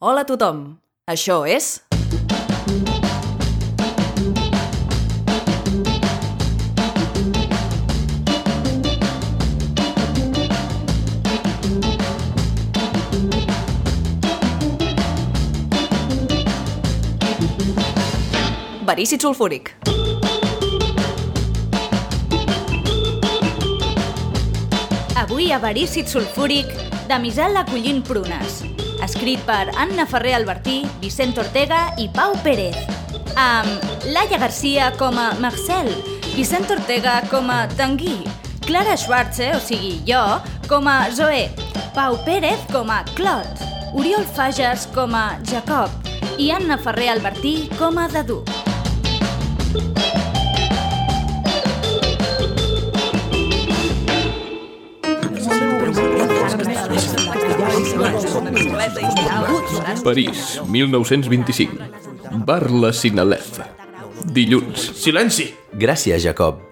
Hola a tothom! Això és... Verícid sulfúric. Avui a Verícid Sulfúric de Misal Acollint Prunes. Escrit per Anna Ferrer Albertí, Vicent Ortega i Pau Pérez. Amb Laia Garcia com a Marcel, Vicent Ortega com a Tanguy, Clara Schwarze, o sigui jo, com a Zoé, Pau Pérez com a Clot, Oriol Fages com a Jacob i Anna Ferrer Albertí com a Dadu. París, 1925. Bar La Sinalef. Dilluns. Silenci! Gràcies, Jacob.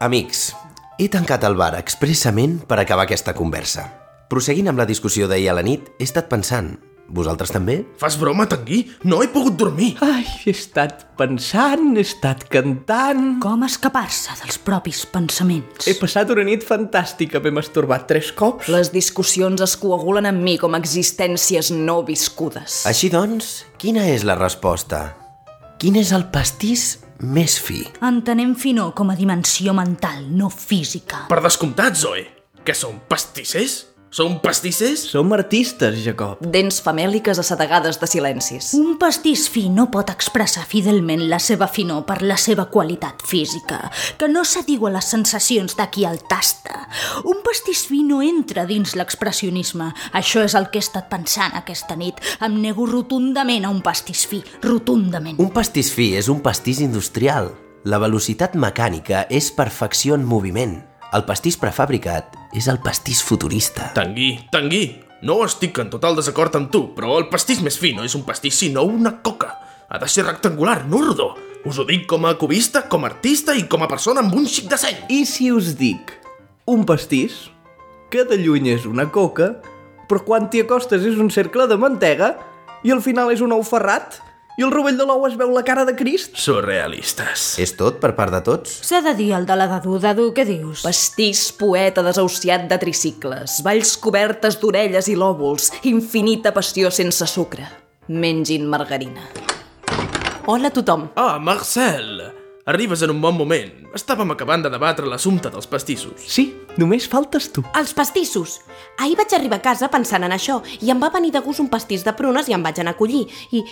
Amics, he tancat el bar expressament per acabar aquesta conversa. Proseguint amb la discussió d'ahir a la nit, he estat pensant... Vosaltres també? Fas broma, Tanguy? No he pogut dormir. Ai, he estat pensant, he estat cantant... Com escapar-se dels propis pensaments? He passat una nit fantàstica, m'he masturbat tres cops. Les discussions es coagulen en mi com a existències no viscudes. Així doncs, quina és la resposta? Quin és el pastís més fi? Entenem finor com a dimensió mental, no física. Per descomptat, Zoe. Que són pastissers? Són pastissers? Som artistes, Jacob. Dents famèliques assedegades de silencis. Un pastís fi no pot expressar fidelment la seva finor per la seva qualitat física, que no s'adiu a les sensacions de qui el tasta. Un pastís fi no entra dins l'expressionisme. Això és el que he estat pensant aquesta nit. Em nego rotundament a un pastís fi, rotundament. Un pastís fi és un pastís industrial. La velocitat mecànica és perfecció en moviment. El pastís prefabricat és el pastís futurista. Tanguy, Tanguy, no estic en total desacord amb tu, però el pastís més fi no és un pastís sinó una coca. Ha de ser rectangular, no rodó. Us ho dic com a cubista, com a artista i com a persona amb un xic de seny. I si us dic un pastís, que de lluny és una coca, però quan t'hi acostes és un cercle de mantega, i al final és un ou ferrat, i el rovell de l'ou es veu la cara de Crist. Surrealistes. És tot per part de tots? S'ha de dir el de la Dadu, Dadu, què dius? Pastís poeta desahuciat de tricicles, valls cobertes d'orelles i lòbuls, infinita passió sense sucre. Mengin margarina. Hola a tothom. Ah, Marcel! Arribes en un bon moment. Estàvem acabant de debatre l'assumpte dels pastissos. Sí, només faltes tu. Els pastissos. Ahir vaig arribar a casa pensant en això i em va venir de gust un pastís de prunes i em vaig anar a collir i, i,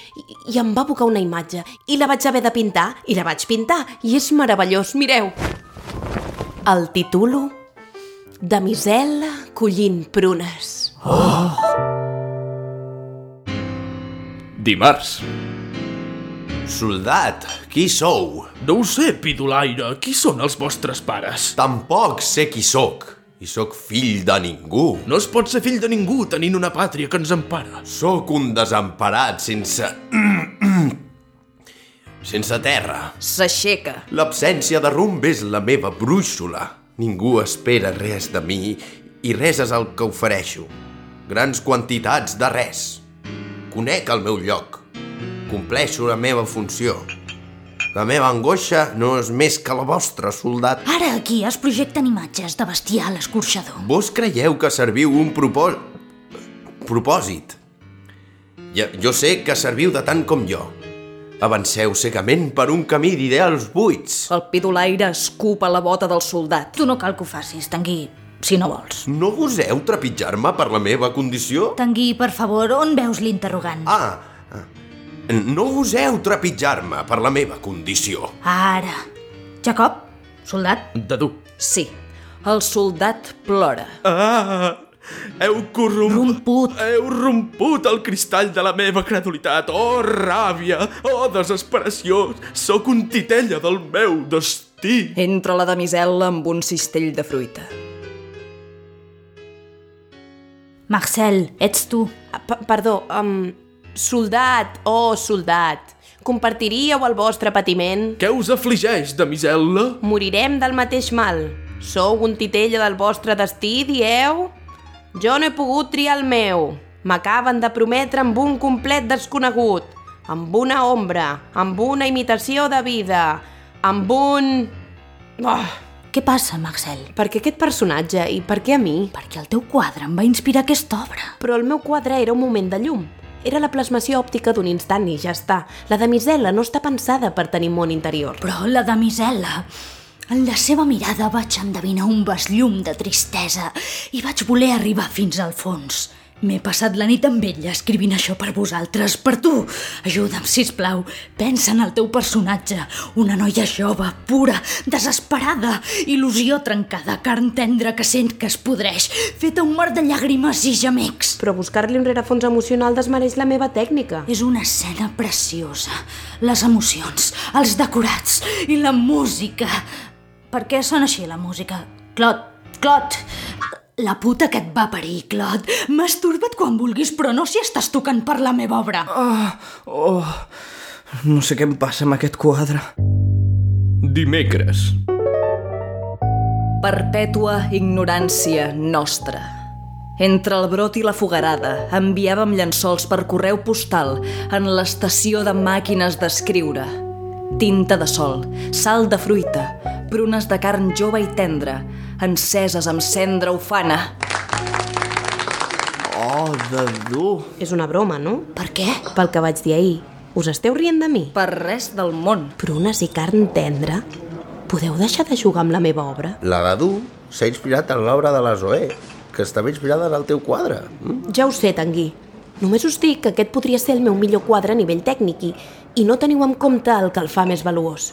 i em va abocar una imatge i la vaig haver de pintar i la vaig pintar i és meravellós, mireu. El titulo de Misela collint prunes. Dimarts. Soldat, qui sou? No ho sé, pidolaire, qui són els vostres pares? Tampoc sé qui sóc. I sóc fill de ningú. No es pot ser fill de ningú tenint una pàtria que ens empara. Sóc un desemparat sense... sense terra. S'aixeca. L'absència de rumb és la meva brúixola. Ningú espera res de mi i res és el que ofereixo. Grans quantitats de res. Conec el meu lloc. Compleixo la meva funció. La meva angoixa no és més que la vostra, soldat. Ara aquí es projecten imatges de bestiar a l'escorxador. Vos creieu que serviu un propò... propòsit? Ja, jo sé que serviu de tant com jo. Avanceu secament per un camí d'ideals buits. El pidolaire escupa la bota del soldat. Tu no cal que ho facis, Tanguy, si no vols. No goseu trepitjar-me per la meva condició? Tanguy, per favor, on veus l'interrogant? Ah, ah, no goseu trepitjar-me per la meva condició. Ara. Jacob, soldat, Dadu. Sí, el soldat plora. Ah, heu romput. corromput... Heu romput el cristall de la meva credulitat. Oh, ràbia! Oh, desesperació! Sóc un titella del meu destí! Entra la damisel·la amb un cistell de fruita. Marcel, ets tu. Ah, pe- Perdó, um, soldat, oh soldat, compartiríeu el vostre patiment? Què us afligeix, damisel·la? Morirem del mateix mal. Sou un titella del vostre destí, dieu? Jo no he pogut triar el meu. M'acaben de prometre amb un complet desconegut, amb una ombra, amb una imitació de vida, amb un... Oh, Què passa, Maxel? per què aquest personatge i per què a mi? Perquè el teu quadre em va inspirar aquesta obra. Però el meu quadre era un moment de llum. Era la plasmació òptica d'un instant i ja està. La damisela no està pensada per tenir món interior. Però la damisel·la... En la seva mirada vaig endevinar un besllum de tristesa i vaig voler arribar fins al fons. M'he passat la nit amb ella escrivint això per vosaltres, per tu. Ajuda'm, si plau. Pensa en el teu personatge. Una noia jove, pura, desesperada, il·lusió trencada, carn tendra que sent que es podreix, feta un mar de llàgrimes i gemecs. Però buscar-li un rerefons emocional desmereix la meva tècnica. És una escena preciosa. Les emocions, els decorats i la música. Per què sona així la música? Clot, Clot! La puta que et va parir, Clot. Masturba't quan vulguis, però no si estàs tocant per la meva obra. Oh, no sé què em passa amb aquest quadre. Dimecres. Perpètua ignorància nostra. Entre el brot i la fogarada, enviàvem llençols per correu postal en l'estació de màquines d'escriure. Tinta de sol, sal de fruita, prunes de carn jove i tendra, enceses amb cendra ufana. Oh, de dur. És una broma, no? Per què? Pel que vaig dir ahir. Us esteu rient de mi? Per res del món. Prunes i carn tendra? Podeu deixar de jugar amb la meva obra? La de Du s'ha inspirat en l'obra de la Zoé, que està ben inspirada en el teu quadre. Ja ho sé, Tanguy. Només us dic que aquest podria ser el meu millor quadre a nivell tècnic i, i no teniu en compte el que el fa més valuós.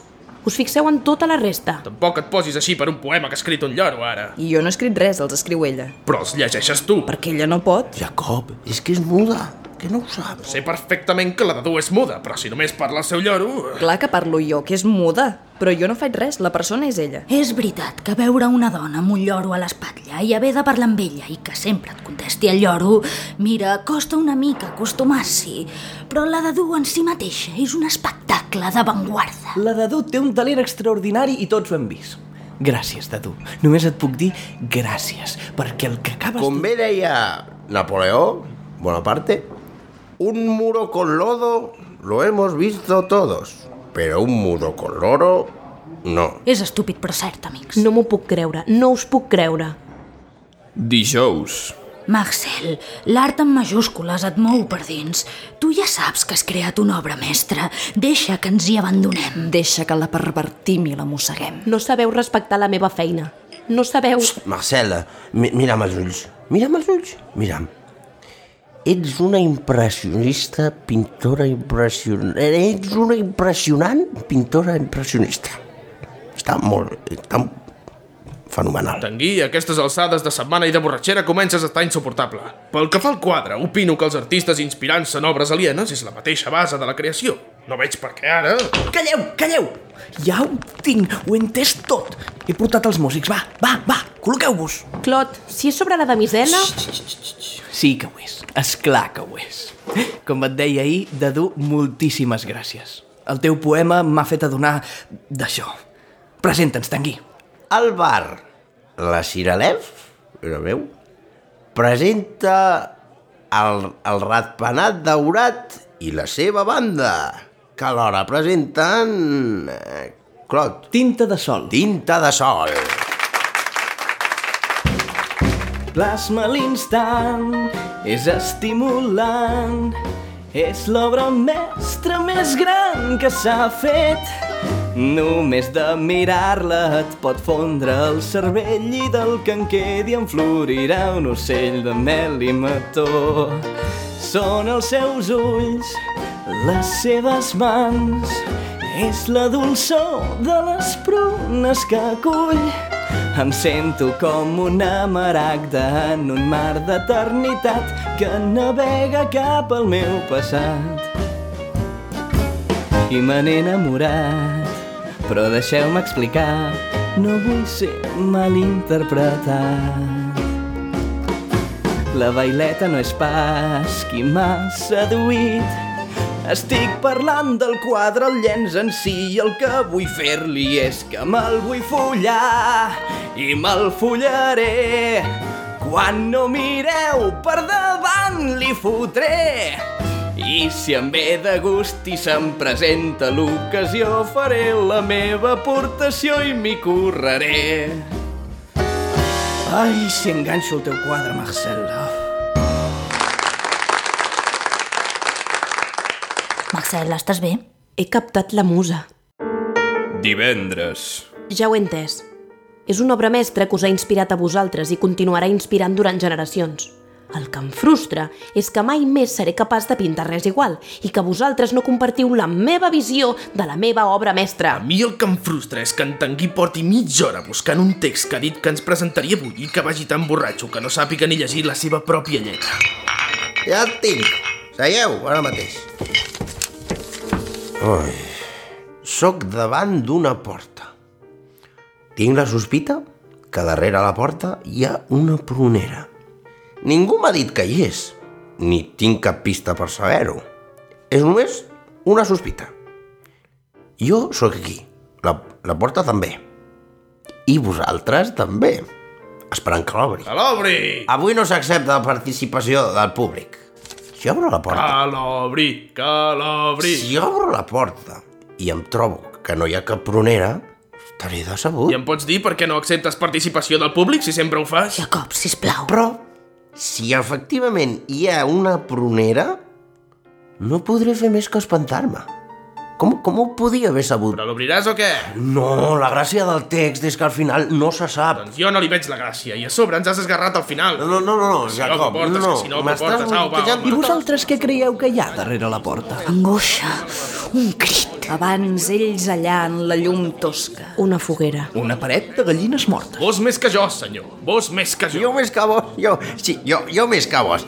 Us fixeu en tota la resta. Tampoc et posis així per un poema que ha escrit un lloro, ara. I jo no he escrit res, els escriu ella. Però els llegeixes tu. Perquè ella no pot. Jacob, és que és muda, que no ho saps. Sé perfectament que la de tu és muda, però si només parla el seu lloro... Clar que parlo jo, que és muda. Però jo no faig res, la persona és ella. És veritat que veure una dona amb un lloro a l'espatlla i haver de parlar amb ella i que sempre et contesti el lloro, mira, costa una mica acostumar-s'hi, però la de dur en si mateixa és un espectacle d'avantguarda. La Dadu té un talent extraordinari i tots ho hem vist. Gràcies, Dadu. Només et puc dir gràcies, perquè el que acabes... Com bé deia Napoleó, Bonaparte, un muro con lodo lo hemos visto todos, pero un muro con loro no. És estúpid però cert, amics. No m'ho puc creure, no us puc creure. Dijous. Marcel, l'art en majúscules et mou per dins. Tu ja saps que has creat una obra mestra. Deixa que ens hi abandonem. Deixa que la pervertim i la mosseguem. No sabeu respectar la meva feina. No sabeu... Marcel, mi mira'm els ulls, mira'm els ulls, mira'm. Ets una impressionista, pintora impressionant... Ets una impressionant pintora impressionista. Està molt... Està fenomenal. Tanguy, a aquestes alçades de setmana i de borratxera comences a estar insuportable. Pel que fa al quadre, opino que els artistes inspirant-se en obres alienes és la mateixa base de la creació. No veig per què ara... Calleu, calleu! Ja ho tinc, ho he entès tot. He portat els músics, va, va, va, col·loqueu-vos. Clot, si és sobre la damisela... Sí que ho és, és clar que ho és. Com et deia ahir, Dadu, moltíssimes gràcies. El teu poema m'ha fet adonar d'això. Presenta'ns, Tanguy. El bar, la Ciralef, era meu, presenta el, el ratpenat daurat i la seva banda, que alhora presenten... eh, Clot, Tinta de sol. tinta de sol. Plasma l'instant, és estimulant, és l'obra mestra més gran que s'ha fet. Només de mirar-la et pot fondre el cervell i del que en quedi en florirà un ocell de mel i mató. Són els seus ulls, les seves mans, és la dolçor de les prunes que cull. Em sento com una maragda en un mar d'eternitat que navega cap al meu passat. I me n'he enamorat, però deixeu-me explicar, no vull ser malinterpretat. La baileta no és pas qui m'ha seduït. Estic parlant del quadre, el llenç en si, i el que vull fer-li és que me'l vull follar, i me'l follaré. Quan no mireu per davant li fotré. I si em ve de gust i se'm presenta l'ocasió, faré la meva aportació i m'hi curraré. Ai, si enganxo el teu quadre, Marcel. ah. Marcel, estàs bé? He captat la musa. Divendres. Ja ho he entès. És una obra mestra que us ha inspirat a vosaltres i continuarà inspirant durant generacions. El que em frustra és que mai més seré capaç de pintar res igual i que vosaltres no compartiu la meva visió de la meva obra mestra. A mi el que em frustra és que en Tanguy porti mitja hora buscant un text que ha dit que ens presentaria avui i que vagi tan borratxo que no sàpiga ni llegir la seva pròpia lletra. Ja el tinc. Seieu, ara mateix. Ai, soc davant d'una porta. Tinc la sospita que darrere la porta hi ha una prunera. Ningú m'ha dit que hi és, ni tinc cap pista per saber-ho. És només una sospita. Jo sóc aquí, la, la porta també. I vosaltres també, esperant que l'obri. Que l'obri! Avui no s'accepta la participació del públic. Si obro la Que porta... l'obri! Que l'obri! Si obro la porta i em trobo que no hi ha cap prunera, estaré decebut. I em pots dir per què no acceptes participació del públic si sempre ho fas? Jacob, sisplau. Però, si efectivament hi ha una prunera, no podré fer més que espantar-me. Com, com ho podia haver sabut? Però l'obriràs o què? No, la gràcia del text és que al final no se sap. Doncs jo no li veig la gràcia i a sobre ens has esgarrat al final. No, no, no, no, no Si no Jacob, m'aportes, que no. si no M'estàs m'aportes, au, va, bloquejant home. i vosaltres... Vosaltres què creieu que hi ha darrere la porta? Angoixa, un crit. Abans ells allà en la llum tosca. Una foguera. Una paret de gallines mortes. Vos més que jo, senyor. Vos més que Jo jo. més que vos, jo, sí, jo, jo més que vos.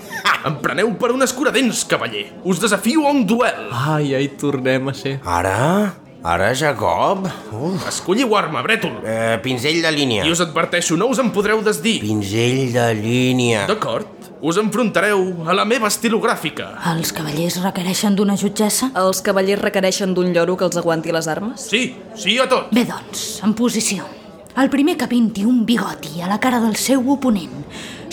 Em preneu per un escuradents, cavaller. Us desafio a un duel. Ai, ai, tornem a ser. Ara? Ara, Jacob? Uf. Escolliu arma, brètol. Eh, pinzell de línia. I us adverteixo, no us en podreu desdir. Pinzell de línia. D'acord, us enfrontareu a la meva estilogràfica. Els cavallers requereixen d'una jutgessa? Els cavallers requereixen d'un lloro que els aguanti les armes? Sí, sí a tot. Bé, doncs, en posició. El primer que pinti un bigoti a la cara del seu oponent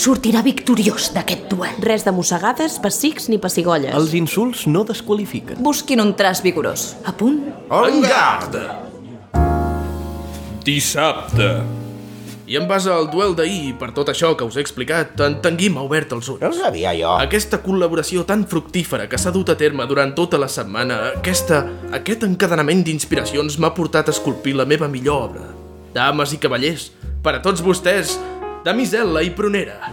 sortirà victoriós d'aquest duel. Res de mossegades, pessics ni pessigolles. Els insults no desqualifiquen. Busquin un traç vigorós. A punt? En guard! Dissabte. I en base al duel d'ahir i per tot això que us he explicat, en Tanguy m'ha obert els ulls. Ja ho sabia jo. Aquesta col·laboració tan fructífera que s'ha dut a terme durant tota la setmana, aquesta, aquest encadenament d'inspiracions m'ha portat a esculpir la meva millor obra. Dames i cavallers, per a tots vostès, damisel·la i prunera.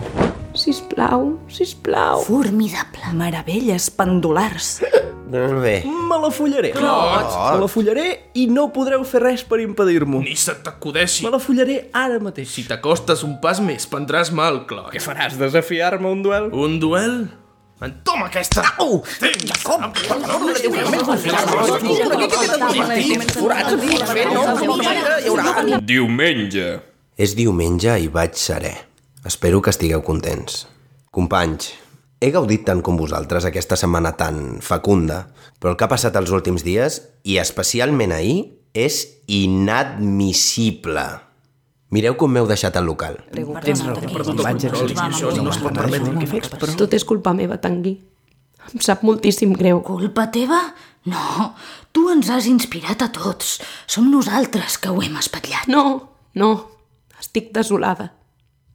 Sisplau, sisplau. Formidable. Meravelles pendulars. Doncs bé. Me la follaré. Me la follaré i no podreu fer res per impedir-m'ho. Ni se t'acudeixi. Me la follaré ara mateix. Si t'acostes un pas més, prendràs mal, clar. Què faràs, desafiar-me a un duel? Un duel? Entoma aquesta! Au! Tens! Com? Diumenge. És diumenge i vaig serè. Espero que estigueu contents. Companys, he gaudit tant com vosaltres aquesta setmana tan fecunda, però el que ha passat els últims dies, i especialment ahir, és inadmissible. Mireu com m'heu deixat al local. Tens raó, vaig Això no es pot permetre. que fes, però... Tot és culpa meva, Tanguy. Em sap moltíssim greu. Culpa teva? No, tu ens has inspirat a tots. Som nosaltres que ho hem espatllat. No, no. Estic desolada.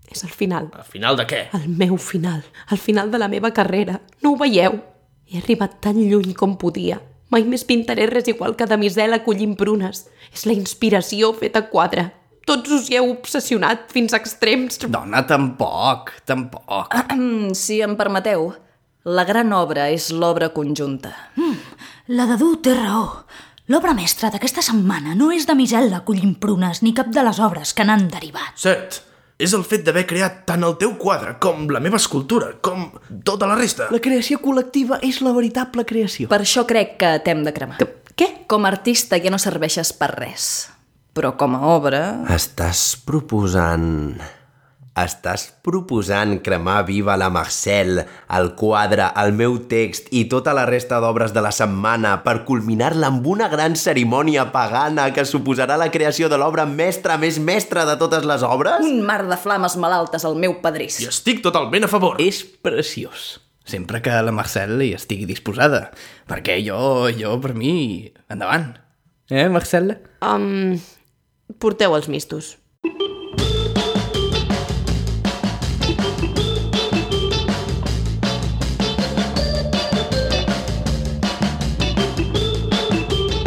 És el final. Al final de què? El meu final. El final de la meva carrera. No ho veieu? He arribat tan lluny com podia. Mai més pintaré res igual que de misela collint prunes. És la inspiració feta quadra. Tots us hi heu obsessionat fins a extrems. Dona, tampoc, tampoc. Mm, Si em permeteu, la gran obra és l'obra conjunta. La Dadu té raó. L'obra mestra d'aquesta setmana no és de Misel collint prunes ni cap de les obres que n'han derivat. Cert, és el fet d'haver creat tant el teu quadre com la meva escultura, com tota la resta. La creació col·lectiva és la veritable creació. Per això crec que t'hem de cremar. Que, què? Com a artista ja no serveixes per res, però com a obra... Estàs proposant Estàs proposant cremar viva la Marcel, el quadre, el meu text i tota la resta d'obres de la setmana per culminar-la amb una gran cerimònia pagana que suposarà la creació de l'obra mestra més mestra de totes les obres? Un mar de flames malaltes al meu pedrís. I estic totalment a favor. És preciós. Sempre que la Marcel hi estigui disposada. Perquè jo, jo, per mi, endavant. Eh, Marcel? Um, porteu els mistos.